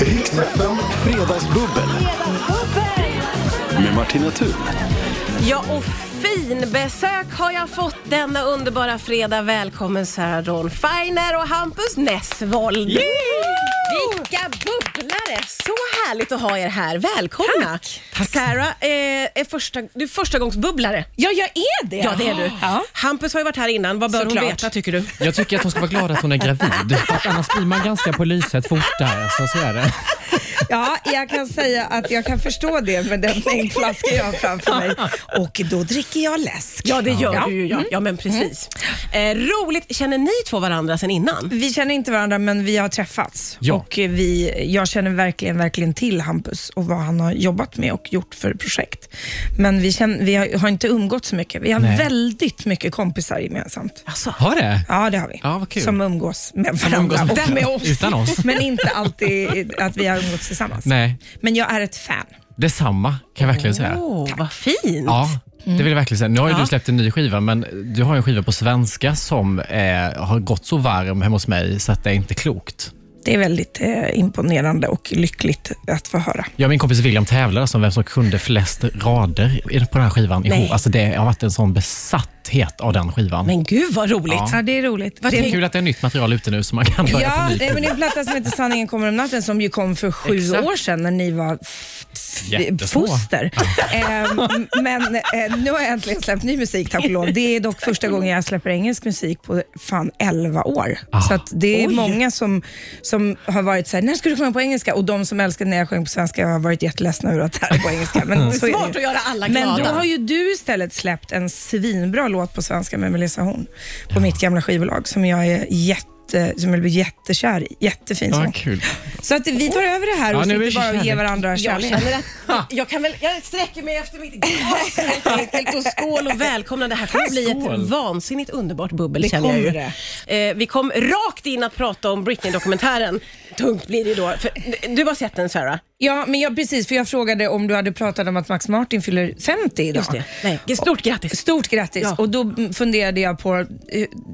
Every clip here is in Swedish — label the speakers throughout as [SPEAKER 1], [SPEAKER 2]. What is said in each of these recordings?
[SPEAKER 1] Riksfem Fredagsbubbel med Martina Thun.
[SPEAKER 2] Ja, och fin besök har jag fått denna underbara fredag. Välkommen Sara Ron Feiner och Hampus Nessvold. Vilka bubblare! Så härligt att ha er här. Välkomna! Tack. Sarah eh, är första, du är förstagångsbubblare.
[SPEAKER 3] Ja, jag är det. Ah.
[SPEAKER 2] Ja, det är du.
[SPEAKER 3] Ja.
[SPEAKER 2] Hampus har ju varit här innan. Vad bör
[SPEAKER 3] Såklart.
[SPEAKER 2] hon veta, tycker du?
[SPEAKER 4] Jag tycker att hon ska vara glad att hon är gravid, för att annars blir man ganska på lyset fort där. Så, så är det.
[SPEAKER 3] ja, jag kan säga att jag kan förstå det med den mängdflaska jag har framför mig. Och då dricker jag läsk.
[SPEAKER 2] Ja, det gör
[SPEAKER 3] Ja.
[SPEAKER 2] du ju. Ja, Mm. ja men precis. Eh, roligt. Känner ni två varandra sedan innan?
[SPEAKER 3] Vi känner inte varandra, men vi har träffats.
[SPEAKER 4] Ja.
[SPEAKER 3] Och vi, jag känner verkligen, verkligen till Hampus och vad han har jobbat med och gjort för projekt. Men vi, känner, vi har, har inte umgått så mycket. Vi har
[SPEAKER 4] Nej.
[SPEAKER 3] väldigt mycket kompisar gemensamt.
[SPEAKER 2] Alltså,
[SPEAKER 4] Har det?
[SPEAKER 3] Ja, det har vi.
[SPEAKER 4] Ja, vad kul.
[SPEAKER 3] Som umgås med varandra
[SPEAKER 4] umgås
[SPEAKER 3] och med oss.
[SPEAKER 4] utan oss.
[SPEAKER 3] Men inte alltid att vi har umgåtts tillsammans.
[SPEAKER 4] Nej,
[SPEAKER 3] Men jag är ett fan.
[SPEAKER 4] detsamma kan jag verkligen säga.
[SPEAKER 2] åh, vad fint.
[SPEAKER 4] Ja, det vill jag verkligen säga. Nu har ju
[SPEAKER 2] Ja.
[SPEAKER 4] du släppt en ny skiva, men du har ju en skiva på svenska som eh, har gått så varm hemma hos mig så att det är inte klokt.
[SPEAKER 3] Det är väldigt eh, imponerande och lyckligt att få höra.
[SPEAKER 4] Jag och min kompis William tävlade alltså om vem som kunde flest rader på den här skivan
[SPEAKER 2] Nej.
[SPEAKER 4] ihop. Alltså det har varit en sån besatthet av den skivan.
[SPEAKER 2] Men gud vad roligt.
[SPEAKER 4] Ja.
[SPEAKER 3] Ja, det är roligt.
[SPEAKER 2] Vad
[SPEAKER 3] det
[SPEAKER 2] tänker
[SPEAKER 4] Kul att det är nytt material ute nu så man kan börja
[SPEAKER 3] Ja,
[SPEAKER 4] på ny
[SPEAKER 3] det är väl en platta som heter Sanningen kommer om natten som ju kom för sju
[SPEAKER 4] Exakt.
[SPEAKER 3] år sedan när ni var f- f-
[SPEAKER 4] Jättesmå.
[SPEAKER 3] foster. Ehm, men eh, nu har jag äntligen släppt ny musik, tack och lov. Det är dock första gången jag släpper engelsk musik på fan 11 år.
[SPEAKER 4] Ah.
[SPEAKER 3] Så att det är
[SPEAKER 2] Oj.
[SPEAKER 3] många som, som har varit så här, när ska du sjunga på engelska? Och de som älskade när jag sjöng på svenska har varit jätteledsna över att det här är på engelska. Men så är det ju.
[SPEAKER 2] Smart att göra alla glada.
[SPEAKER 3] Men då har ju du istället släppt en svinbra låt på svenska med Melissa Horn på mitt gamla skivbolag som jag är jätte, som jag blir jättekär i. Jättefin
[SPEAKER 4] Ja,
[SPEAKER 3] sång.
[SPEAKER 4] kul.
[SPEAKER 3] Så att vi tar över det här
[SPEAKER 4] Ja,
[SPEAKER 3] och
[SPEAKER 4] nu är
[SPEAKER 3] sitter
[SPEAKER 4] det
[SPEAKER 3] bara och ger
[SPEAKER 4] kärlek.
[SPEAKER 3] varandra
[SPEAKER 2] Jag
[SPEAKER 3] kärlek.
[SPEAKER 2] känner att jag kan väl, jag sträcker mig efter mitt glas helt enkelt och skål och välkomna. Det här kommer bli ett
[SPEAKER 4] Skål.
[SPEAKER 2] vansinnigt underbart bubbel
[SPEAKER 3] Det
[SPEAKER 2] känner jag ju.
[SPEAKER 3] kommer
[SPEAKER 2] Eh, vi kom rakt in att prata om Britney-dokumentären. Tungt blir det då. För, du har sett den Sarah?
[SPEAKER 3] Ja, men jag, precis, för jag frågade om du hade pratat om att Max Martin fyller 50 idag.
[SPEAKER 2] Just det. Nej, stort grattis.
[SPEAKER 3] Stort grattis.
[SPEAKER 2] Ja.
[SPEAKER 3] Och då mm, funderade jag på eh,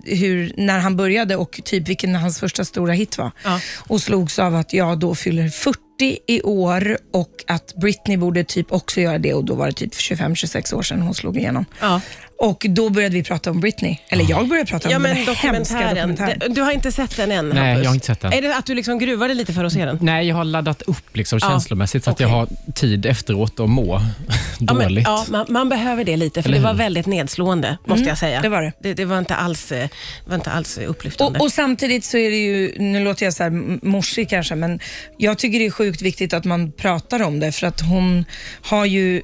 [SPEAKER 3] hur, när han började och typ vilken hans första stora hit var.
[SPEAKER 2] Ja.
[SPEAKER 3] Och slogs av att jag då fyller 40 i år och att Britney borde typ också göra det och då var det typ 25-26 år sedan hon slog igenom.
[SPEAKER 2] Ja.
[SPEAKER 3] Och då började vi prata om Britney. Eller jag började prata om
[SPEAKER 2] Ja
[SPEAKER 3] den
[SPEAKER 2] men
[SPEAKER 3] här hemska
[SPEAKER 2] dokumentären.
[SPEAKER 3] dokumentären.
[SPEAKER 2] Du har inte sett den än
[SPEAKER 4] Nej,
[SPEAKER 2] Hampus?
[SPEAKER 4] jag har inte sett den.
[SPEAKER 2] Är det att du liksom gruvade lite för att se den?
[SPEAKER 4] Nej, jag har laddat upp liksom
[SPEAKER 2] Ja,
[SPEAKER 4] känslomässigt så att jag
[SPEAKER 2] okej.
[SPEAKER 4] har tid efteråt att må
[SPEAKER 2] Ja, men,
[SPEAKER 4] dåligt.
[SPEAKER 2] ja, man, man behöver det lite för
[SPEAKER 4] Eller
[SPEAKER 2] det var
[SPEAKER 4] hur?
[SPEAKER 2] väldigt nedslående måste jag säga.
[SPEAKER 3] det var det.
[SPEAKER 2] Mm. Det, var inte alls, eh, var inte alls eh, upplyftande.
[SPEAKER 3] Och, och samtidigt så är det ju, nu låter jag så här m- morsig kanske, men jag tycker det är sjukt viktigt att man pratar om det för att hon har ju,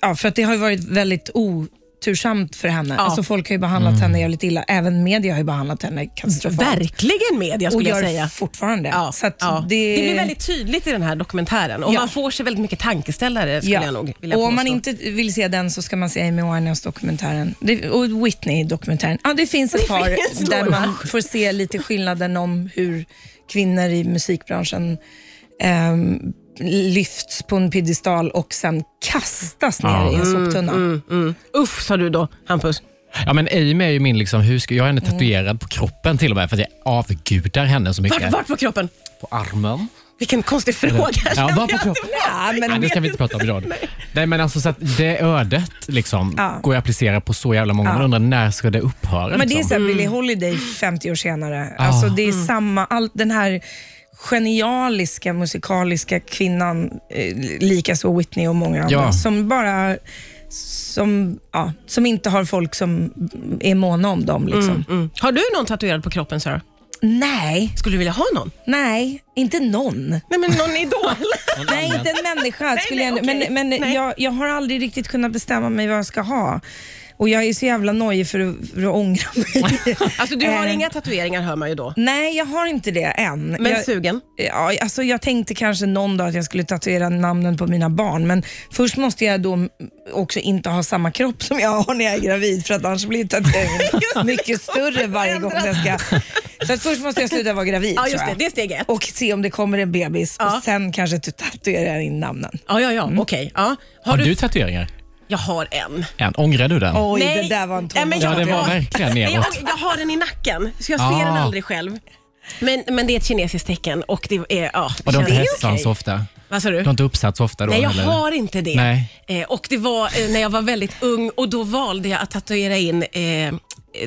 [SPEAKER 3] ja för att det har ju varit väldigt otursamt för henne.
[SPEAKER 2] Ja.
[SPEAKER 3] Alltså folk har ju behandlat henne jävligt illa. Även media har ju behandlat henne katastrofalt.
[SPEAKER 2] Verkligen media
[SPEAKER 3] och
[SPEAKER 2] skulle jag
[SPEAKER 3] gör
[SPEAKER 2] säga.
[SPEAKER 3] fortfarande.
[SPEAKER 2] Ja,
[SPEAKER 3] så att
[SPEAKER 2] ja.
[SPEAKER 3] Det,
[SPEAKER 2] blir väldigt tydligt i den här dokumentären och
[SPEAKER 3] Ja.
[SPEAKER 2] man får sig väldigt mycket tankeställare skulle
[SPEAKER 3] Ja.
[SPEAKER 2] jag nog vilja
[SPEAKER 3] och om man
[SPEAKER 2] påstå.
[SPEAKER 3] inte vill se den så ska man se Amy Winehouse-dokumentären Det- och Whitney-dokumentären. Ja, det finns ett par
[SPEAKER 2] finns
[SPEAKER 3] där
[SPEAKER 2] några.
[SPEAKER 3] man får se lite skillnaden om hur kvinnor i musikbranschen ehm, lyfts på en piedestal och sen kastas ner
[SPEAKER 4] Ja.
[SPEAKER 3] i en
[SPEAKER 2] Mm,
[SPEAKER 3] soptunna.
[SPEAKER 2] Uff sa du då Hampus.
[SPEAKER 4] Ja, men Amy är ju min liksom, husgud. Jag har henne
[SPEAKER 2] Mm.
[SPEAKER 4] tatuerad på kroppen till och med för att jag avgudar henne så mycket.
[SPEAKER 2] Vart, vart på kroppen?
[SPEAKER 4] På armen.
[SPEAKER 2] Vilken konstig fråga.
[SPEAKER 4] Ja,
[SPEAKER 2] känner
[SPEAKER 4] var på
[SPEAKER 2] jag.
[SPEAKER 4] kroppen.
[SPEAKER 3] Ja, men
[SPEAKER 4] Nej, det ska vi inte prata om idag. Nej, men alltså, så att det ödet liksom,
[SPEAKER 3] Ja.
[SPEAKER 4] går jag att applicera på så jävla många. Man undrar när ska det upphöra?
[SPEAKER 3] Men det är
[SPEAKER 4] liksom? Ah. Mm.
[SPEAKER 3] så här Billie Holiday 50 år senare. Alltså det är samma, all, den här genialiska musikaliska kvinnan, eh, likaså Whitney och många andra,
[SPEAKER 4] Ja.
[SPEAKER 3] som bara som, ja, som inte har folk som är måna om dem. Liksom.
[SPEAKER 2] Mm. Har du någon tatuerad på kroppen Sarah?
[SPEAKER 3] Nej,
[SPEAKER 2] Skulle du vilja ha någon?
[SPEAKER 3] nej, inte någon.
[SPEAKER 2] Nej men någon idol.
[SPEAKER 3] Nej, inte en människa. skulle jag,
[SPEAKER 2] nej, okej.
[SPEAKER 3] Men, men
[SPEAKER 2] Nej.
[SPEAKER 3] jag, jag har aldrig riktigt kunnat bestämma mig vad jag ska ha. Och jag är så jävla nojig för att, för att ångra mig.
[SPEAKER 2] alltså du har
[SPEAKER 3] Eh,
[SPEAKER 2] inga tatueringar hör man ju då.
[SPEAKER 3] Nej, jag har inte det än.
[SPEAKER 2] Men
[SPEAKER 3] jag,
[SPEAKER 2] sugen?
[SPEAKER 3] Ja, alltså jag tänkte kanske någon dag att jag skulle tatuera namnen på mina barn, men först måste jag då också inte ha samma kropp som jag har när jag är gravid, för att annars blir tatueringen mycket större varje gång jag ska... Så att först måste jag sluta vara gravid
[SPEAKER 2] Ja
[SPEAKER 3] tror
[SPEAKER 2] just det,
[SPEAKER 3] jag.
[SPEAKER 2] det är steg ett.
[SPEAKER 3] och se om det kommer en bebis
[SPEAKER 2] Ja.
[SPEAKER 3] och sen kanske tatuera in namnen.
[SPEAKER 2] Ja, ja, ja, okej. Ja.
[SPEAKER 4] Mm. Har du tatueringar?
[SPEAKER 2] Jag har en.
[SPEAKER 4] Än. Ångrar du den?
[SPEAKER 3] Oj, det där var en
[SPEAKER 2] Nej, men
[SPEAKER 3] tonårstatuering.
[SPEAKER 4] Ja, det var
[SPEAKER 2] jag-
[SPEAKER 4] verkligen
[SPEAKER 2] Nej, jag,
[SPEAKER 4] neråt.
[SPEAKER 2] jag har den i nacken, så jag
[SPEAKER 4] Ah.
[SPEAKER 2] ser den aldrig själv. Men, men det är ett kinesiskt tecken och det är... Ja,
[SPEAKER 4] Och du har
[SPEAKER 2] känns-
[SPEAKER 4] inte
[SPEAKER 2] det är
[SPEAKER 4] hästsvans
[SPEAKER 2] okej.
[SPEAKER 4] så ofta?
[SPEAKER 2] Vad sa du?
[SPEAKER 4] Du har inte uppsatt så ofta då?
[SPEAKER 2] Nej, jag
[SPEAKER 4] eller?
[SPEAKER 2] har inte det.
[SPEAKER 4] Nej.
[SPEAKER 2] Eh, och Det var eh, när jag var väldigt ung och då valde jag att tatuera in eh,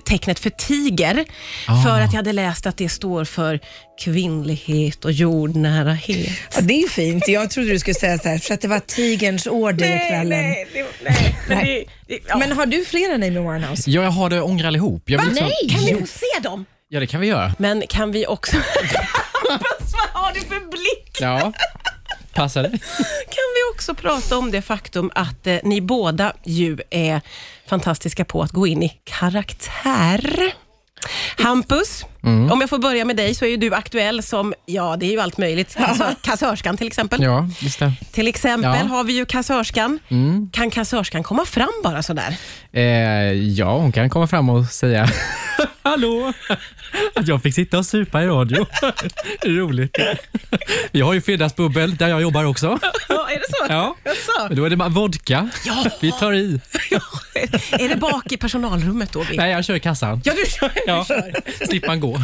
[SPEAKER 2] tecknet för tiger.
[SPEAKER 4] Ah.
[SPEAKER 2] För att jag hade läst att det står för kvinnlighet och jordnärahet.
[SPEAKER 3] Ja, det är ju fint. Jag trodde du skulle säga så här, för att det var tigerns order ikvällen.
[SPEAKER 2] det, nej. Men,
[SPEAKER 3] Nej.
[SPEAKER 2] det- det- ja.
[SPEAKER 3] Men har du flera Amy Winehouse?
[SPEAKER 4] Ja, jag har det och ångrar allihop. Jag vill liksom-
[SPEAKER 2] Kan vi
[SPEAKER 4] Jo,
[SPEAKER 2] få se dem?
[SPEAKER 4] Ja, det kan vi göra.
[SPEAKER 2] Men kan vi också... Hampus, vad har du för blick?
[SPEAKER 4] Ja. Passar det?
[SPEAKER 2] Kan vi också prata om det faktum att eh, ni båda ju är fantastiska på att gå in i karaktär? Hampus,
[SPEAKER 4] Mm.
[SPEAKER 2] om jag får börja med dig så är ju du aktuell som, ja det är ju allt möjligt, Kassör, kassörskan till exempel.
[SPEAKER 4] Ja, visst det.
[SPEAKER 2] Till exempel
[SPEAKER 4] Ja. Mm.
[SPEAKER 2] har vi ju kassörskan. Kan kassörskan komma fram bara sådär?
[SPEAKER 4] Eh, ja, hon kan komma fram och säga Hallå! Att jag fick sitta och supa i radio. Det är roligt. Vi har ju fredagsbubbel där jag jobbar också.
[SPEAKER 2] Ja, är det så?
[SPEAKER 4] Ja.
[SPEAKER 2] Jaså?
[SPEAKER 4] Då är det bara vodka.
[SPEAKER 2] Ja.
[SPEAKER 4] Vi tar i.
[SPEAKER 2] Är det bak i personalrummet då? Vic?
[SPEAKER 4] Nej, jag kör i kassan.
[SPEAKER 2] Ja, du kör.
[SPEAKER 4] Ja. Slipper man gå.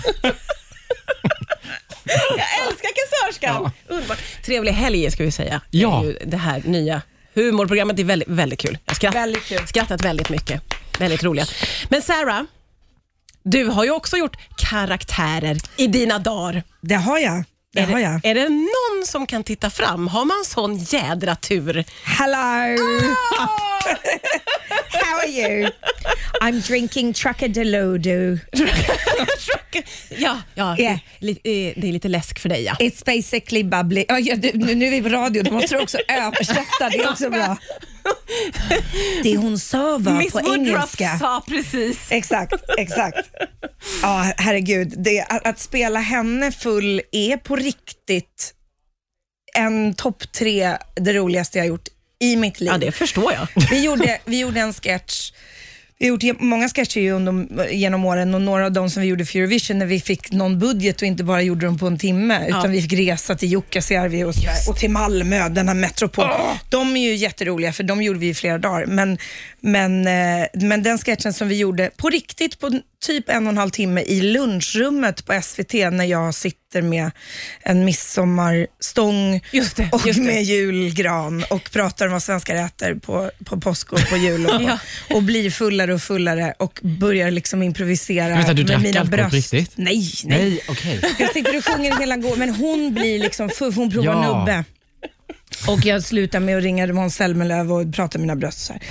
[SPEAKER 2] Jag älskar kassörskan. Underbart. Trevlig helg ska vi säga.
[SPEAKER 4] Ja.
[SPEAKER 2] Det, är ju det här nya humorprogrammet är väldigt, väldigt kul. Jag har skratt,
[SPEAKER 3] Väldigt kul.
[SPEAKER 2] skrattat väldigt mycket. Väldigt roliga. Men Sarah, du har ju också gjort karaktärer i dina dagar.
[SPEAKER 3] Det har jag. Det
[SPEAKER 2] Är
[SPEAKER 3] har
[SPEAKER 2] det,
[SPEAKER 3] jag.
[SPEAKER 2] är det någon som kan titta fram? Har man sån jädra tur?
[SPEAKER 3] Hello!
[SPEAKER 2] Ah!
[SPEAKER 3] How are you? I'm drinking Truckadelodo.
[SPEAKER 2] ja, ja
[SPEAKER 3] Yeah.
[SPEAKER 2] li, eh, det är lite läsk för dig ja.
[SPEAKER 3] It's basically bubbly. Oh, Ja, ja, du, nu, nu är vi på radio, då måste du också översätta. Det är också bra. Det hon sa var
[SPEAKER 2] Miss
[SPEAKER 3] på
[SPEAKER 2] Woodruff
[SPEAKER 3] engelska.
[SPEAKER 2] sa precis.
[SPEAKER 3] Exakt, exakt. Ja, herregud. Det, att, att spela henne full är på riktigt en topp tre det roligaste jag gjort i mitt liv.
[SPEAKER 2] Ja, det förstår jag.
[SPEAKER 3] Vi gjorde, vi gjorde en sketch, vi har gjort ge- många sketcher ju under, genom åren och några av dem som vi gjorde för Eurovision när vi fick någon budget och inte bara gjorde dem på en timme utan vi fick resa till Jukkasjärvi och, sådär, och till Malmö, den här metropol. De är ju jätteroliga för de gjorde vi i flera dagar. Men, men, eh, men den sketchen som vi gjorde på riktigt på typ en och en halv timme i lunchrummet på SVT när jag sitter med en midsommarstång
[SPEAKER 2] Just det,
[SPEAKER 3] och
[SPEAKER 2] just det.
[SPEAKER 3] med julgran och pratar om vad svenskar äter på, på påsk och på jul och,
[SPEAKER 2] Ja.
[SPEAKER 3] och blir fullare och fullare och börjar liksom improvisera
[SPEAKER 4] Vänta, du drack
[SPEAKER 3] med mina
[SPEAKER 4] alkohol på
[SPEAKER 3] bröst.
[SPEAKER 4] riktigt?
[SPEAKER 3] Nej, nej.
[SPEAKER 4] Nej, okej.
[SPEAKER 3] Jag sitter och sjunger hela gården, men hon blir liksom full, hon provar
[SPEAKER 4] Ja.
[SPEAKER 3] nubbe. Och jag slutar med att ringa Måns Zelmerlöw och prata med mina bröst. Så här.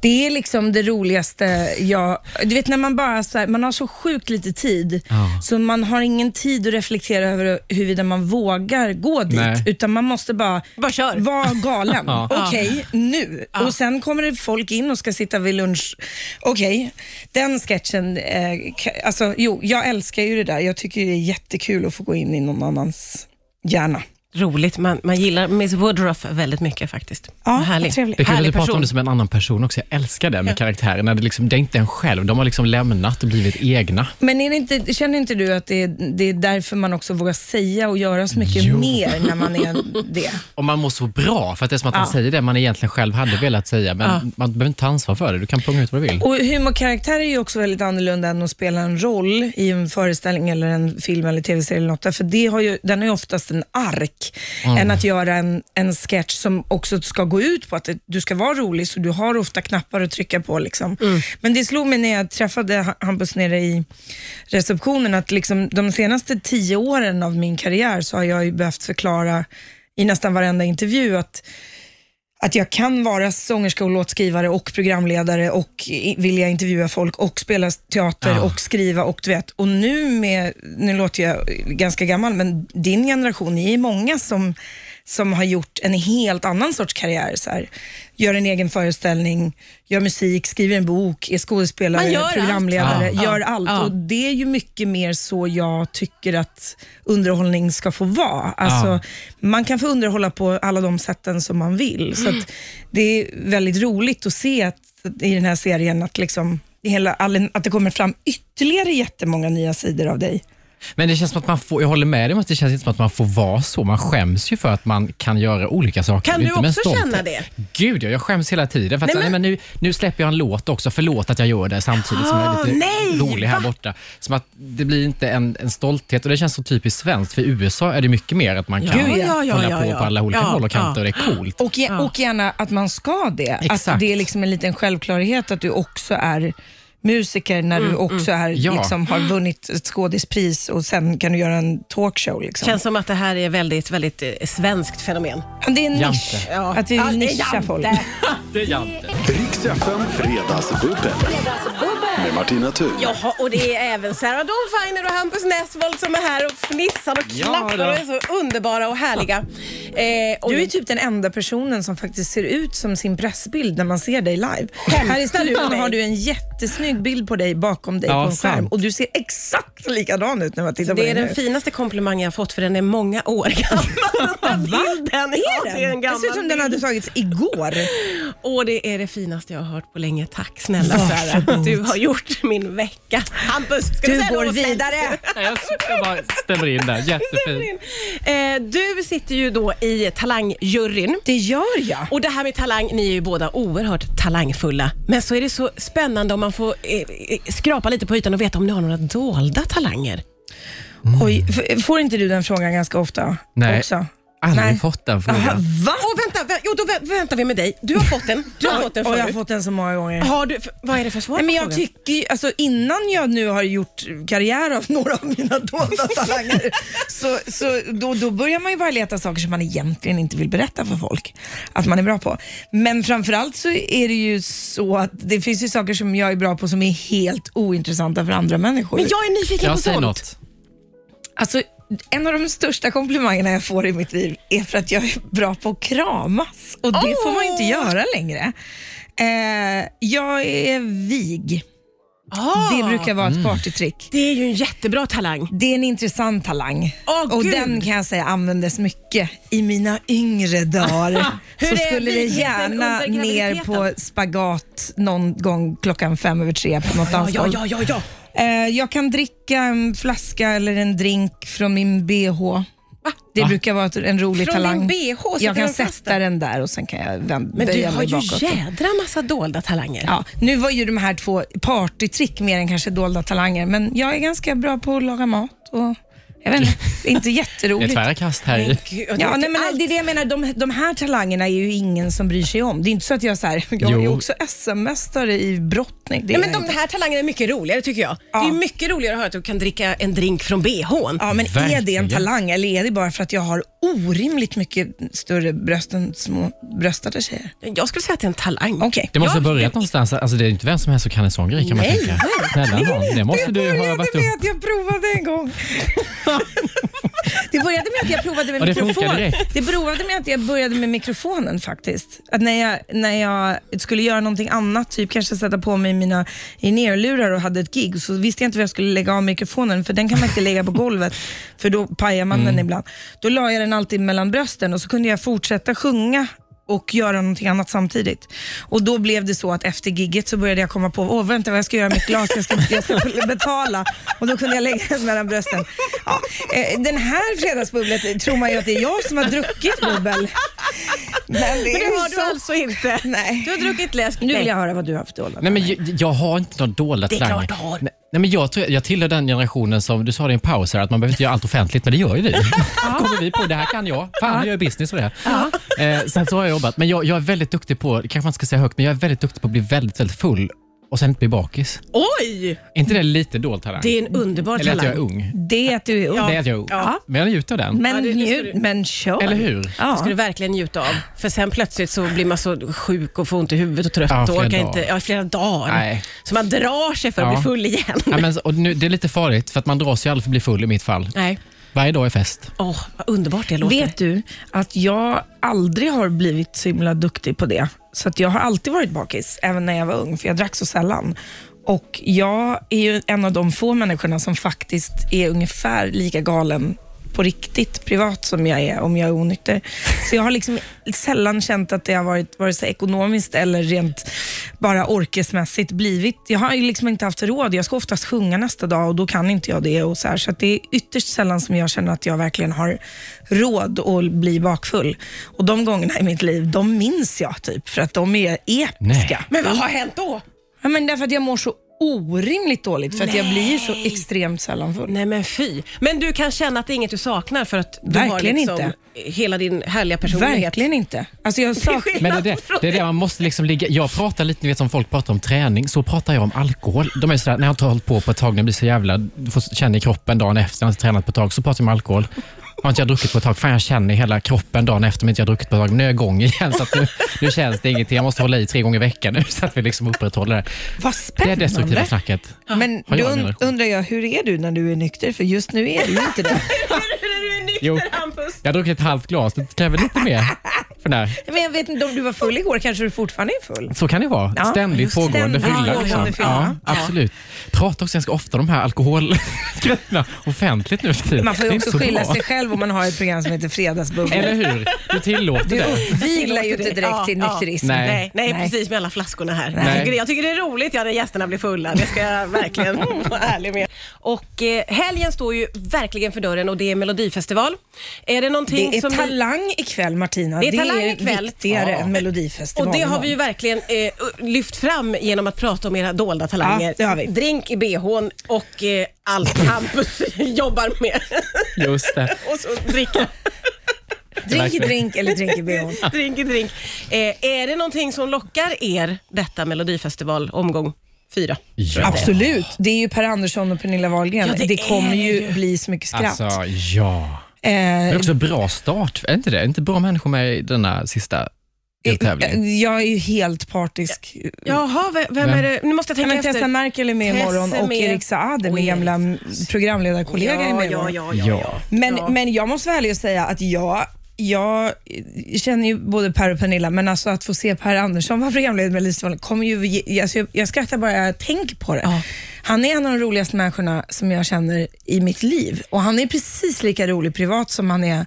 [SPEAKER 3] Det är liksom det roligaste jag... Du vet när man bara så här, man har så sjukt lite tid,
[SPEAKER 4] Ja.
[SPEAKER 3] så man har ingen tid att reflektera över huruvida man vågar gå dit,
[SPEAKER 4] Nej.
[SPEAKER 3] utan man måste bara
[SPEAKER 2] Bara kör.
[SPEAKER 3] var galen.
[SPEAKER 4] Ja.
[SPEAKER 3] Okej, nu. Och sen kommer det folk in och ska sitta vid lunch. Okej, den sketchen. Eh, ka- alltså, jo, jag älskar ju det där. Jag tycker det är jättekul att få gå in i någon annans hjärna.
[SPEAKER 2] Roligt, man, man gillar Miss Woodruff väldigt mycket faktiskt.
[SPEAKER 3] Ja,
[SPEAKER 2] En härlig,
[SPEAKER 3] vad trevligt.
[SPEAKER 4] Det är kul att du
[SPEAKER 2] härlig
[SPEAKER 4] pratar om
[SPEAKER 2] person.
[SPEAKER 4] det som en annan person också. Jag älskar det med karaktärer. När det, liksom, det är inte en själv. De har liksom lämnat och blivit egna.
[SPEAKER 3] Men är det inte, känner inte du att det är, det är därför man också vågar säga och göra så mycket
[SPEAKER 4] Jo.
[SPEAKER 3] mer när man är det?
[SPEAKER 4] Och man mår så bra, för att det är som att man säger det man egentligen själv hade velat säga, men man behöver inte ta ansvar för det. Du kan punga ut vad du vill.
[SPEAKER 3] Och humorkaraktär är ju också väldigt annorlunda än att spela en roll i en föreställning eller en film eller tv-serie eller något. För det har ju, den är ju oftast en ark, än att göra en, en sketch som också ska gå ut på att det- du ska vara rolig, så du har ofta knappar att trycka på. Liksom. Men det slog mig när jag träffade Ha- Hampus nere i receptionen, att liksom, de senaste tio åren av min karriär så har jag ju behövt förklara i nästan varenda intervju att att jag kan vara sångerska och låtskrivare och programledare och i- vilja intervjua folk och spela teater
[SPEAKER 4] Ja.
[SPEAKER 3] och skriva och du vet. Och nu med, nu låter jag ganska gammal, men din generation, ni är många som, som har gjort en helt annan sorts karriär. Så här. Gör en egen föreställning, gör musik, skriver en bok, är skådespelare,
[SPEAKER 2] Man gör allt.
[SPEAKER 3] programledare,
[SPEAKER 4] Ja.
[SPEAKER 3] gör
[SPEAKER 2] Ja.
[SPEAKER 3] allt.
[SPEAKER 2] Ja.
[SPEAKER 3] Och det är ju mycket mer så jag tycker att underhållning ska få vara. Alltså,
[SPEAKER 4] Ja.
[SPEAKER 3] Man kan få underhålla på alla de sätten som man vill. Så att det är väldigt roligt att se att, i den här serien att, liksom, hela, all- att det kommer fram ytterligare jättemånga nya sidor av dig.
[SPEAKER 4] Men det känns som att man får, jag håller med dig, men det känns inte som att man får vara så. Man skäms ju för att man kan göra olika saker.
[SPEAKER 2] Kan
[SPEAKER 4] Det är
[SPEAKER 2] du
[SPEAKER 4] inte med
[SPEAKER 2] också
[SPEAKER 4] stolthet.
[SPEAKER 2] känna det?
[SPEAKER 4] Gud ja, jag skäms hela tiden. För att,
[SPEAKER 2] Nej,
[SPEAKER 4] nej,
[SPEAKER 2] men-
[SPEAKER 4] men... nu, nu släpper jag en låt också, förlåt att jag gör det samtidigt som jag är lite
[SPEAKER 2] Ah, nej,
[SPEAKER 4] rolig här
[SPEAKER 2] va?
[SPEAKER 4] borta. Som att det blir inte en, en stolthet och det känns så typiskt svenskt. För i USA är det mycket mer att man kan
[SPEAKER 2] Gud, ja, ja,
[SPEAKER 4] hålla
[SPEAKER 2] ja,
[SPEAKER 4] på
[SPEAKER 2] ja.
[SPEAKER 4] på alla olika
[SPEAKER 2] Ja,
[SPEAKER 4] håll och kanter
[SPEAKER 2] ja.
[SPEAKER 4] och det är coolt.
[SPEAKER 3] Och, ge, och gärna att man ska det. Att
[SPEAKER 4] Exakt.
[SPEAKER 3] det är liksom en liten självklarhet att du också är musiker när
[SPEAKER 2] Mm,
[SPEAKER 3] du också är,
[SPEAKER 4] Ja.
[SPEAKER 3] liksom, har vunnit ett skådispris och sen kan du göra en talkshow. Liksom.
[SPEAKER 2] Känns som att det här är väldigt, väldigt eh, svenskt fenomen.
[SPEAKER 3] Men det är en nisch.
[SPEAKER 4] Jante.
[SPEAKER 2] Ja.
[SPEAKER 3] Att vi
[SPEAKER 2] Ja, det är
[SPEAKER 3] nischar
[SPEAKER 2] jante.
[SPEAKER 3] folk.
[SPEAKER 4] Det är Jante.
[SPEAKER 1] Riks FM Fredagsbubbel med Martina Thun.
[SPEAKER 2] Jaha, och det är även Sarah Dawn Finer och Hampus Nessvold som är här och fnissar och
[SPEAKER 4] Ja,
[SPEAKER 2] klappar
[SPEAKER 4] då.
[SPEAKER 2] och är så underbara och härliga. Eh, och
[SPEAKER 3] Du är typ den enda personen som faktiskt ser ut som sin pressbild när man ser dig live. Här i
[SPEAKER 2] med
[SPEAKER 3] studion
[SPEAKER 2] mig?
[SPEAKER 3] har du en jättesnygg bild på dig bakom dig
[SPEAKER 4] Ja,
[SPEAKER 3] på en skärm
[SPEAKER 4] sant.
[SPEAKER 3] och du ser exakt likadan ut när man tittar på
[SPEAKER 2] det
[SPEAKER 3] dig
[SPEAKER 2] är den
[SPEAKER 3] nu.
[SPEAKER 2] finaste komplimangen jag fått för den är många år gammal. Den där bilden. Ja, det är en
[SPEAKER 3] Det
[SPEAKER 2] gammal
[SPEAKER 3] ser ut som den hade tagits igår.
[SPEAKER 2] Och det är det finaste jag har hört på länge. Tack snälla Sara. Du har gjort min vecka. Hampus, ska du,
[SPEAKER 3] Du
[SPEAKER 2] säga
[SPEAKER 3] går
[SPEAKER 2] något snällt?
[SPEAKER 3] vidare.
[SPEAKER 4] Nej, jag, jag bara stämmer in där. Jättefint.
[SPEAKER 2] Eh, Du sitter ju då i talangjuryn.
[SPEAKER 3] Det gör jag.
[SPEAKER 2] Och det här med talang, ni är ju båda oerhört talangfulla. Men så är det så spännande om man får eh, eh, skrapa lite på ytan och veta om ni har några dolda talanger.
[SPEAKER 3] Oj, f- får inte du den frågan ganska ofta?
[SPEAKER 4] Mm. Nej.
[SPEAKER 3] Också?
[SPEAKER 4] Aldrig
[SPEAKER 3] Nej.
[SPEAKER 4] fått den
[SPEAKER 3] Aha,
[SPEAKER 4] frågan.
[SPEAKER 3] va?
[SPEAKER 2] Åh, vänta, vä- jo, då vä- väntar vi med dig. Du har fått den. Du har fått den
[SPEAKER 3] Och jag har
[SPEAKER 2] förut.
[SPEAKER 3] fått den så många gånger.
[SPEAKER 2] Har du, f- vad är det för svar
[SPEAKER 3] Nej,
[SPEAKER 2] på
[SPEAKER 3] men jag
[SPEAKER 2] frågan?
[SPEAKER 3] tycker ju- alltså, innan jag nu har gjort karriär av några av mina dolda talanger, så, så då, då börjar man ju bara leta saker som man egentligen inte vill berätta för folk att man är bra på. Men framförallt så är det ju så att det finns ju saker som jag är bra på som är helt ointressanta för andra människor.
[SPEAKER 2] Men jag är nyfiken
[SPEAKER 4] Jag
[SPEAKER 2] på
[SPEAKER 4] säger
[SPEAKER 2] sånt.
[SPEAKER 4] något.
[SPEAKER 3] Alltså, en av de största komplimangerna jag får i mitt liv är för att jag är bra på att kramas och det får man ju inte göra längre. Eh, jag är vig.
[SPEAKER 2] Ah,
[SPEAKER 3] Det brukar vara ett partytrick.
[SPEAKER 2] det är ju en jättebra talang.
[SPEAKER 3] Det är en intressant talang
[SPEAKER 2] Åh,
[SPEAKER 3] och
[SPEAKER 2] Gud.
[SPEAKER 3] den kan jag säga användes mycket i mina yngre dagar.
[SPEAKER 2] Hur
[SPEAKER 3] så
[SPEAKER 2] är
[SPEAKER 3] skulle det
[SPEAKER 2] vigheten
[SPEAKER 3] gärna
[SPEAKER 2] under
[SPEAKER 3] ner på
[SPEAKER 2] graviditeten?
[SPEAKER 3] spagat någon gång klockan fem över tre på något
[SPEAKER 2] Ja, ja,
[SPEAKER 3] dansgolv.
[SPEAKER 2] ja, ja, ja.
[SPEAKER 3] Eh, jag kan dricka en flaska eller en drink från min bh. Det brukar vara ett- en rolig
[SPEAKER 2] Från
[SPEAKER 3] talang.
[SPEAKER 2] din BH sätter
[SPEAKER 3] jag kan
[SPEAKER 2] den fast
[SPEAKER 3] sätta den där och sen kan jag vänd,
[SPEAKER 2] Men du
[SPEAKER 3] böja
[SPEAKER 2] har
[SPEAKER 3] mig
[SPEAKER 2] ju
[SPEAKER 3] bakåt.
[SPEAKER 2] jädra massa dolda talanger.
[SPEAKER 3] Ja, nu var ju de här två partytrick mer än kanske dolda talanger, men jag är ganska bra på att laga mat och jag vet inte, det är inte
[SPEAKER 4] Det är
[SPEAKER 3] jätteroligt.
[SPEAKER 4] tvära kast här i.
[SPEAKER 2] Gud,
[SPEAKER 3] Ja, nej, men
[SPEAKER 2] allt-
[SPEAKER 3] det är det jag menar. De, de här talangerna är ju ingen som bryr sig om. Det är inte så att jag så här, jag är ju
[SPEAKER 4] Jo.
[SPEAKER 3] också SM-mästare i brottning. Det
[SPEAKER 2] Nej,
[SPEAKER 3] är
[SPEAKER 2] men
[SPEAKER 3] jag
[SPEAKER 2] de
[SPEAKER 3] inte.
[SPEAKER 2] här talangerna är mycket roligare tycker jag. Det är mycket roligare att höra att du kan dricka en drink från bhn.
[SPEAKER 3] Ja, men är det en
[SPEAKER 4] Verkligen.
[SPEAKER 3] talang eller är det bara för att jag har orimligt mycket större bröst än små bröstade tjejer?
[SPEAKER 2] Jag skulle säga att det är en talang.
[SPEAKER 3] Okej.
[SPEAKER 4] Det måste
[SPEAKER 2] Ja,
[SPEAKER 4] ha börjat någonstans. Alltså, det är inte vem som helst som kan en sån grej kan man
[SPEAKER 2] Nej,
[SPEAKER 4] tänka. Snälla nån, det måste du ha övat upp.
[SPEAKER 3] att jag provade en gång. det började med att jag provade med
[SPEAKER 4] Och det funkar
[SPEAKER 3] mikrofon.
[SPEAKER 4] direkt.
[SPEAKER 3] Det började med att jag började med mikrofonen faktiskt. Att när, jag, när jag skulle göra någonting annat, typ kanske sätta på mig mina in-ear-lurar och hade ett gig, så visste jag inte var jag skulle lägga av mikrofonen, för den kan man inte lägga på golvet, för då pajar man
[SPEAKER 4] Mm.
[SPEAKER 3] den ibland. Då la jag den alltid mellan brösten och så kunde jag fortsätta sjunga och göra någonting annat samtidigt. Och Då blev det så att efter gigget så började jag komma på, åh vänta vad jag ska göra med mitt glas, jag ska, jag ska betala. Och Då kunde jag lägga den mellan brösten. Ja, eh, den här fredagsbubblet tror man ju att det är jag som har druckit bubbel. Men det,
[SPEAKER 2] Men
[SPEAKER 3] är ju
[SPEAKER 2] det har du
[SPEAKER 3] så-
[SPEAKER 2] alltså inte.
[SPEAKER 3] Nej.
[SPEAKER 2] Du har druckit läsk.
[SPEAKER 3] Nu
[SPEAKER 2] Nej.
[SPEAKER 3] vill jag höra vad du har för dolda.
[SPEAKER 4] Nej, men jag, jag har inte några dolda
[SPEAKER 2] Det är klart
[SPEAKER 4] talanger.
[SPEAKER 2] du har.
[SPEAKER 4] Nej, nej, men jag, tror- jag tillhör den generationen som, du sa det i en paus här, att man behöver inte göra allt offentligt, men det gör ju vi. kommer vi på, det här kan jag. Fan, jag gör business och det. Eh, sen så har jag jobbat, men jag, jag är väldigt duktig på, det kanske man inte ska säga högt, men jag är väldigt duktig på att bli väldigt, väldigt full och sen inte bli bakis.
[SPEAKER 2] Oj!
[SPEAKER 4] Är inte det lite dold talang?
[SPEAKER 2] Det är en underbar
[SPEAKER 4] Eller att jag är
[SPEAKER 2] talang.
[SPEAKER 4] ung.
[SPEAKER 3] Det är att du är ung.
[SPEAKER 4] Det är att jag är ung.
[SPEAKER 2] Ja.
[SPEAKER 4] Men jag njuter av den.
[SPEAKER 3] Men,
[SPEAKER 2] Ja, det- det ska
[SPEAKER 3] njut-
[SPEAKER 2] du-
[SPEAKER 3] men kör.
[SPEAKER 4] Eller hur?
[SPEAKER 2] Det ska du
[SPEAKER 3] Ja.
[SPEAKER 2] verkligen njuta av. För sen plötsligt så blir man så sjuk och får ont i huvudet och trött
[SPEAKER 4] Ja,
[SPEAKER 2] och
[SPEAKER 4] flera
[SPEAKER 2] orkar
[SPEAKER 4] dagar.
[SPEAKER 2] inte, ja, i flera dagar.
[SPEAKER 4] Nej.
[SPEAKER 2] Så man drar sig för att
[SPEAKER 4] Ja.
[SPEAKER 2] bli full igen.
[SPEAKER 4] Ja, men, och nu, det är lite farligt, för att man dras ju aldrig för att bli full i mitt fall.
[SPEAKER 2] Nej.
[SPEAKER 4] Varje dag är fest.
[SPEAKER 2] Åh, vad underbart det låter.
[SPEAKER 3] Vet du att jag aldrig har blivit så himla duktig på det. Så att jag har alltid varit bakis, även när jag var ung, för jag drack så sällan. Och jag är ju en av de få människorna som faktiskt är ungefär lika galen på riktigt privat som jag är om jag är onykter. Så jag har liksom sällan känt att det har varit vare sig ekonomiskt eller rent bara orkesmässigt blivit. Jag har ju liksom inte haft råd. Jag ska oftast sjunga nästa dag och då kan inte jag det. Och så här. så att det är ytterst sällan som jag känner att jag verkligen har råd att bli bakfull. Och de gångerna i mitt liv, de minns jag typ för att de är episka.
[SPEAKER 4] Nej.
[SPEAKER 2] Men vad har hänt då?
[SPEAKER 3] Ja, men därför att jag mår så orimligt dåligt för att jag blir så extremt sällan full.
[SPEAKER 2] Nej men fy. Men du kan känna att det är inget du saknar för att du
[SPEAKER 3] Verkligen
[SPEAKER 2] har liksom
[SPEAKER 3] inte.
[SPEAKER 2] hela din härliga personlighet.
[SPEAKER 3] Verkligen inte. Alltså jag saknar...
[SPEAKER 4] Men det, är det, det är det man måste liksom ligga... Jag pratar lite, ni vet som folk pratar om träning, så pratar jag om alkohol. De är sådär, när jag har hållit på på ett tag, när jag blir så jävla... Du får känna i kroppen dagen efter, när jag har tränat på ett tag, så pratar jag om alkohol. Har inte jag druckit på ett tag? Fan, jag känner i hela kroppen dagen efter, men inte jag har druckit på ett tag. Men nu är jag igång igen, så att nu, nu känns det ingenting. Jag måste hålla i tre gånger i veckan nu, så att vi liksom upprätthåller det.
[SPEAKER 3] Vad
[SPEAKER 4] Det är
[SPEAKER 3] spännande.
[SPEAKER 4] destruktiva snacket.
[SPEAKER 3] Men
[SPEAKER 4] Har
[SPEAKER 3] då
[SPEAKER 4] jag en
[SPEAKER 3] und-
[SPEAKER 4] relation?
[SPEAKER 3] undrar jag, hur är du när du är nykter? För just nu är du ju inte det.
[SPEAKER 2] Du är nykter
[SPEAKER 4] Jo.
[SPEAKER 2] Hampus.
[SPEAKER 4] Jag har druckit ett halvt glas, det kräver lite mer. För när.
[SPEAKER 3] Men jag vet inte, om du var full igår kanske du fortfarande är full?
[SPEAKER 4] Så kan det vara.
[SPEAKER 3] Ja,
[SPEAKER 4] Ständigt
[SPEAKER 3] just
[SPEAKER 4] pågående
[SPEAKER 3] ständigt
[SPEAKER 4] fylla.
[SPEAKER 3] pågående
[SPEAKER 4] Liksom.
[SPEAKER 3] fylla.
[SPEAKER 4] Ja, absolut. Pratar också ganska ofta om de här alkoholgrejerna offentligt nu för tiden.
[SPEAKER 3] Man får
[SPEAKER 4] Det
[SPEAKER 3] ju
[SPEAKER 4] är
[SPEAKER 3] också
[SPEAKER 4] inte så
[SPEAKER 3] skylla
[SPEAKER 4] bra.
[SPEAKER 3] sig själv om man har ett program som heter Fredagsbubbel.
[SPEAKER 4] Eller hur? Du tillåter
[SPEAKER 3] Du
[SPEAKER 4] det.
[SPEAKER 3] uppviglar ju inte direkt
[SPEAKER 2] Ja,
[SPEAKER 3] till
[SPEAKER 2] ja.
[SPEAKER 3] nykterism.
[SPEAKER 4] Nej.
[SPEAKER 2] Nej, nej,
[SPEAKER 3] Nej.
[SPEAKER 2] precis med alla flaskorna här. Jag
[SPEAKER 4] Nej.
[SPEAKER 2] tycker, det, jag tycker det är roligt ja, när gästerna blir fulla. Det ska jag verkligen vara ärlig med. Och eh, helgen står ju verkligen för dörren och det är Melodifestival. Är det någonting
[SPEAKER 3] Det är
[SPEAKER 2] som ni-
[SPEAKER 3] Talang ikväll Martina.
[SPEAKER 2] Det är Talang
[SPEAKER 3] ju
[SPEAKER 2] ikväll.
[SPEAKER 3] viktigare
[SPEAKER 2] Ja.
[SPEAKER 3] än Melodifestivalen.
[SPEAKER 2] Och det har vi ju verkligen eh, lyft fram genom att prata om era dolda talanger.
[SPEAKER 3] Ja, det har vi.
[SPEAKER 2] Drink i bhn och eh, allt Hampus jobbar med.
[SPEAKER 4] Just det.
[SPEAKER 2] och så dricka.
[SPEAKER 3] Drink i
[SPEAKER 4] verkligen.
[SPEAKER 3] drink eller drink i bh.
[SPEAKER 2] drink i drink. Eh, är det någonting som lockar er detta Melodifestival omgång fyra?
[SPEAKER 4] Ja.
[SPEAKER 3] Absolut. Det är ju Per Andersson och Pernilla Wahlgren.
[SPEAKER 2] Ja, det
[SPEAKER 3] det,
[SPEAKER 2] är
[SPEAKER 3] kommer ju,
[SPEAKER 2] ju.
[SPEAKER 3] bli så mycket skratt.
[SPEAKER 4] Alltså, ja.
[SPEAKER 3] Eh,
[SPEAKER 4] Men också bra start. Är inte det? Är inte bra människor med i denna sista deltävlingen?
[SPEAKER 3] jag är ju helt partisk.
[SPEAKER 2] Jaha, vem, vem
[SPEAKER 4] Vem?
[SPEAKER 2] är det? Nu måste jag
[SPEAKER 3] Ja,
[SPEAKER 2] tänka
[SPEAKER 3] men Tessa
[SPEAKER 2] efter.
[SPEAKER 3] Merkel är med
[SPEAKER 2] Tessa
[SPEAKER 3] imorgon och
[SPEAKER 2] med-
[SPEAKER 3] Erik Saade,
[SPEAKER 2] och
[SPEAKER 3] min
[SPEAKER 2] Erik.
[SPEAKER 3] gamla m- programledarkollega, är
[SPEAKER 2] Ja,
[SPEAKER 3] med
[SPEAKER 2] ja,
[SPEAKER 3] imorgon.
[SPEAKER 2] ja, ja, ja.
[SPEAKER 4] Ja.
[SPEAKER 3] Men,
[SPEAKER 2] Ja.
[SPEAKER 3] men jag måste vara ärlig och säga att jag, jag känner ju både Per och Pernilla, men alltså att få se Per Andersson vara programledare med Melodifestivalen kommer ju... ge- Alltså jag, jag skrattar bara jag tänker på det. Han är en av de roligaste människorna som jag känner i mitt liv och han är precis lika rolig privat som han är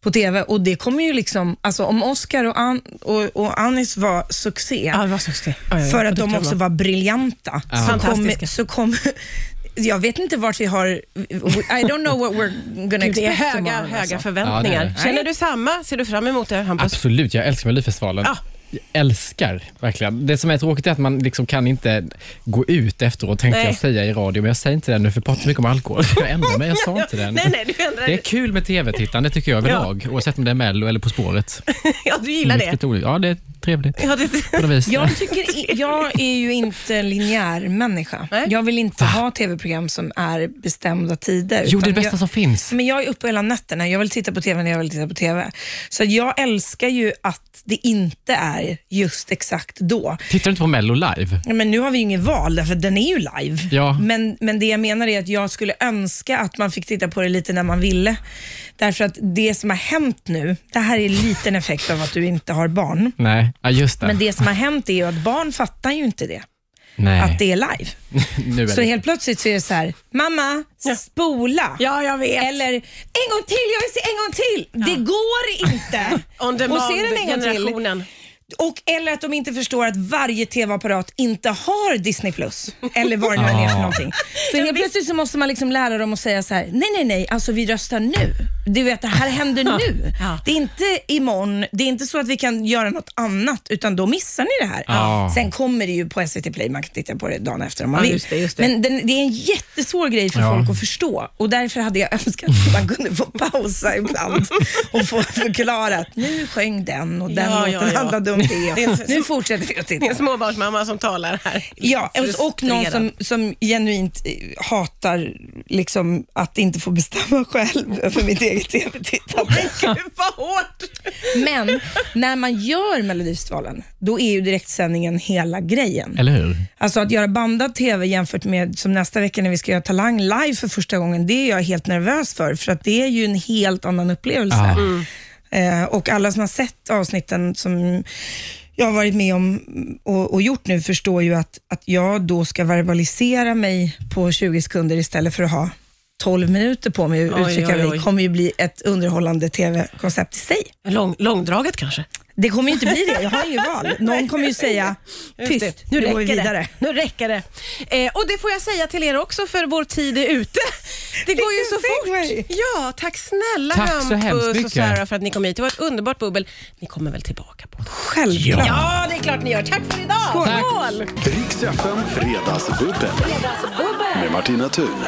[SPEAKER 3] på TV och det kommer ju liksom, alltså om Oscar och, An- och, och Anis var succé,
[SPEAKER 2] det var succé. Ja, ja, ja.
[SPEAKER 3] för att
[SPEAKER 2] Duktiga
[SPEAKER 3] de också var briljanta. Så
[SPEAKER 2] Fantastiska.
[SPEAKER 3] kommer- Så kom, jag vet inte vart vi har... I don't know what we're gonna
[SPEAKER 2] Gud,
[SPEAKER 3] expect
[SPEAKER 2] det är höga,
[SPEAKER 3] tomorrow, alltså.
[SPEAKER 2] höga förväntningar.
[SPEAKER 4] Ja, det är det.
[SPEAKER 2] Känner du samma? Ser du fram emot det, Hampus?
[SPEAKER 4] Absolut, jag älskar Melodifestivalen.
[SPEAKER 2] Ja.
[SPEAKER 4] Jag älskar verkligen. Det som är tråkigt är att man liksom kan inte gå ut efteråt, tänkte
[SPEAKER 2] Nej.
[SPEAKER 4] jag säga i radio, men jag säger inte det nu för jag pratar så mycket om alkohol. Jag ändrar mig, jag sa inte det.
[SPEAKER 2] Nej, nej, du ändrar
[SPEAKER 4] Det är kul med tv-tittande tycker jag överlag, oavsett om det är Mello eller På spåret.
[SPEAKER 2] Ja, du gillar det.
[SPEAKER 4] Riktigt roligt. Ja, det är trevligt
[SPEAKER 2] Ja, det,
[SPEAKER 4] på något vis.
[SPEAKER 3] Jag, tycker, i- jag är ju inte en linjär människa.
[SPEAKER 2] Nej.
[SPEAKER 3] Jag vill inte ha tv-program som är bestämda tider.
[SPEAKER 4] Jo, det är det
[SPEAKER 3] utan
[SPEAKER 4] bästa
[SPEAKER 3] jag,
[SPEAKER 4] som finns.
[SPEAKER 3] Men jag är uppe hela nätterna. Jag vill titta på tv när jag vill titta på tv. Så jag älskar ju att det inte är just exakt då.
[SPEAKER 4] Tittar du inte på Mello live?
[SPEAKER 3] Ja, Men nu har vi ju inget val, därför att den är ju live.
[SPEAKER 4] Ja.
[SPEAKER 3] Men, men det jag menar är att jag skulle önska att man fick titta på det lite när man ville. Därför att det som har hänt nu, det här är en liten effekt av att du inte har barn.
[SPEAKER 4] Nej, ja, just det.
[SPEAKER 3] Men det som har hänt är ju att barn fattar ju inte det,
[SPEAKER 4] Nej.
[SPEAKER 3] att det är live.
[SPEAKER 4] nu är
[SPEAKER 3] Så
[SPEAKER 4] det.
[SPEAKER 3] helt plötsligt så är det så här, mamma, spola.
[SPEAKER 2] ja, jag vet.
[SPEAKER 3] Eller, en gång till, jag vill se en gång till. Det går inte.
[SPEAKER 2] On
[SPEAKER 3] Och se den en gång till.
[SPEAKER 2] demand-generationen.
[SPEAKER 3] Och, eller att de inte förstår att varje tv-apparat inte har Disney+. Plus Eller vad det nu än är för
[SPEAKER 4] Ja.
[SPEAKER 3] någonting. Så helt plötsligt så måste man liksom lära dem att säga så här: nej, nej, nej, alltså vi röstar nu. Du vet, det här händer nu.
[SPEAKER 2] Ja.
[SPEAKER 3] Det är inte imorgon, det är inte så att vi kan göra något annat, utan då missar ni det här.
[SPEAKER 4] Ja.
[SPEAKER 3] Sen kommer det ju på SVT Play, man kan titta på det dagen efter om man
[SPEAKER 2] Ja,
[SPEAKER 3] vill.
[SPEAKER 2] just det, just det.
[SPEAKER 3] Men den, det är en jättesvår grej för
[SPEAKER 4] Ja.
[SPEAKER 3] folk att förstå och därför hade jag önskat att man kunde få pausa ibland och få förklara att nu sjöng den och den
[SPEAKER 2] Ja,
[SPEAKER 3] låten
[SPEAKER 2] ja, ja.
[SPEAKER 3] handlade om det.
[SPEAKER 2] är så-
[SPEAKER 3] Nu fortsätter vi att
[SPEAKER 2] Det är en
[SPEAKER 3] titta.
[SPEAKER 2] småbarnsmamma som talar här.
[SPEAKER 3] Ja, och, och någon
[SPEAKER 2] Frustrerad.
[SPEAKER 3] som, som genuint eh, hatar liksom, att inte få bestämma själv över mitt eget
[SPEAKER 2] Oh
[SPEAKER 3] tv-tittande.
[SPEAKER 2] Gud vad hårt!
[SPEAKER 3] Men när man gör Melodifestivalen, då är ju direktsändningen hela grejen.
[SPEAKER 4] Eller hur?
[SPEAKER 3] Alltså att göra bandad TV jämfört med som nästa vecka när vi ska göra Talang live för första gången, det är jag helt nervös för, för att det är ju en helt annan upplevelse.
[SPEAKER 4] Ja.
[SPEAKER 2] Mm.
[SPEAKER 3] Eh, och alla som har sett avsnitten som jag har varit med om och, och gjort nu förstår ju att, att jag då ska verbalisera mig på 20 sekunder istället för att ha 12 minuter på mig att
[SPEAKER 2] Oj,
[SPEAKER 3] uttrycka
[SPEAKER 2] oj,
[SPEAKER 3] mig
[SPEAKER 2] oj.
[SPEAKER 3] kommer ju bli ett underhållande tv-koncept i sig.
[SPEAKER 2] Lång, långdraget kanske?
[SPEAKER 3] Det kommer ju inte bli det, jag har inget val. Någon kommer ju säga
[SPEAKER 2] Just
[SPEAKER 3] tyst,
[SPEAKER 2] det.
[SPEAKER 3] nu, går vi vidare.
[SPEAKER 2] Det. Nu räcker det. Eh, och det får jag säga till er också för vår tid är ute. Det går ju så
[SPEAKER 3] segway.
[SPEAKER 2] fort. Ja, tack snälla
[SPEAKER 4] Tack så hemskt
[SPEAKER 2] Hampus och
[SPEAKER 4] mycket.
[SPEAKER 2] Sara för att ni kom hit. Det var ett underbart bubbel. Ni kommer väl tillbaka på det?
[SPEAKER 3] Självklart.
[SPEAKER 2] Ja, det är klart ni gör. Tack för idag.
[SPEAKER 4] Skål.
[SPEAKER 2] Skål.
[SPEAKER 1] Riks FM Fredagsbubbel. Med Martina Thun.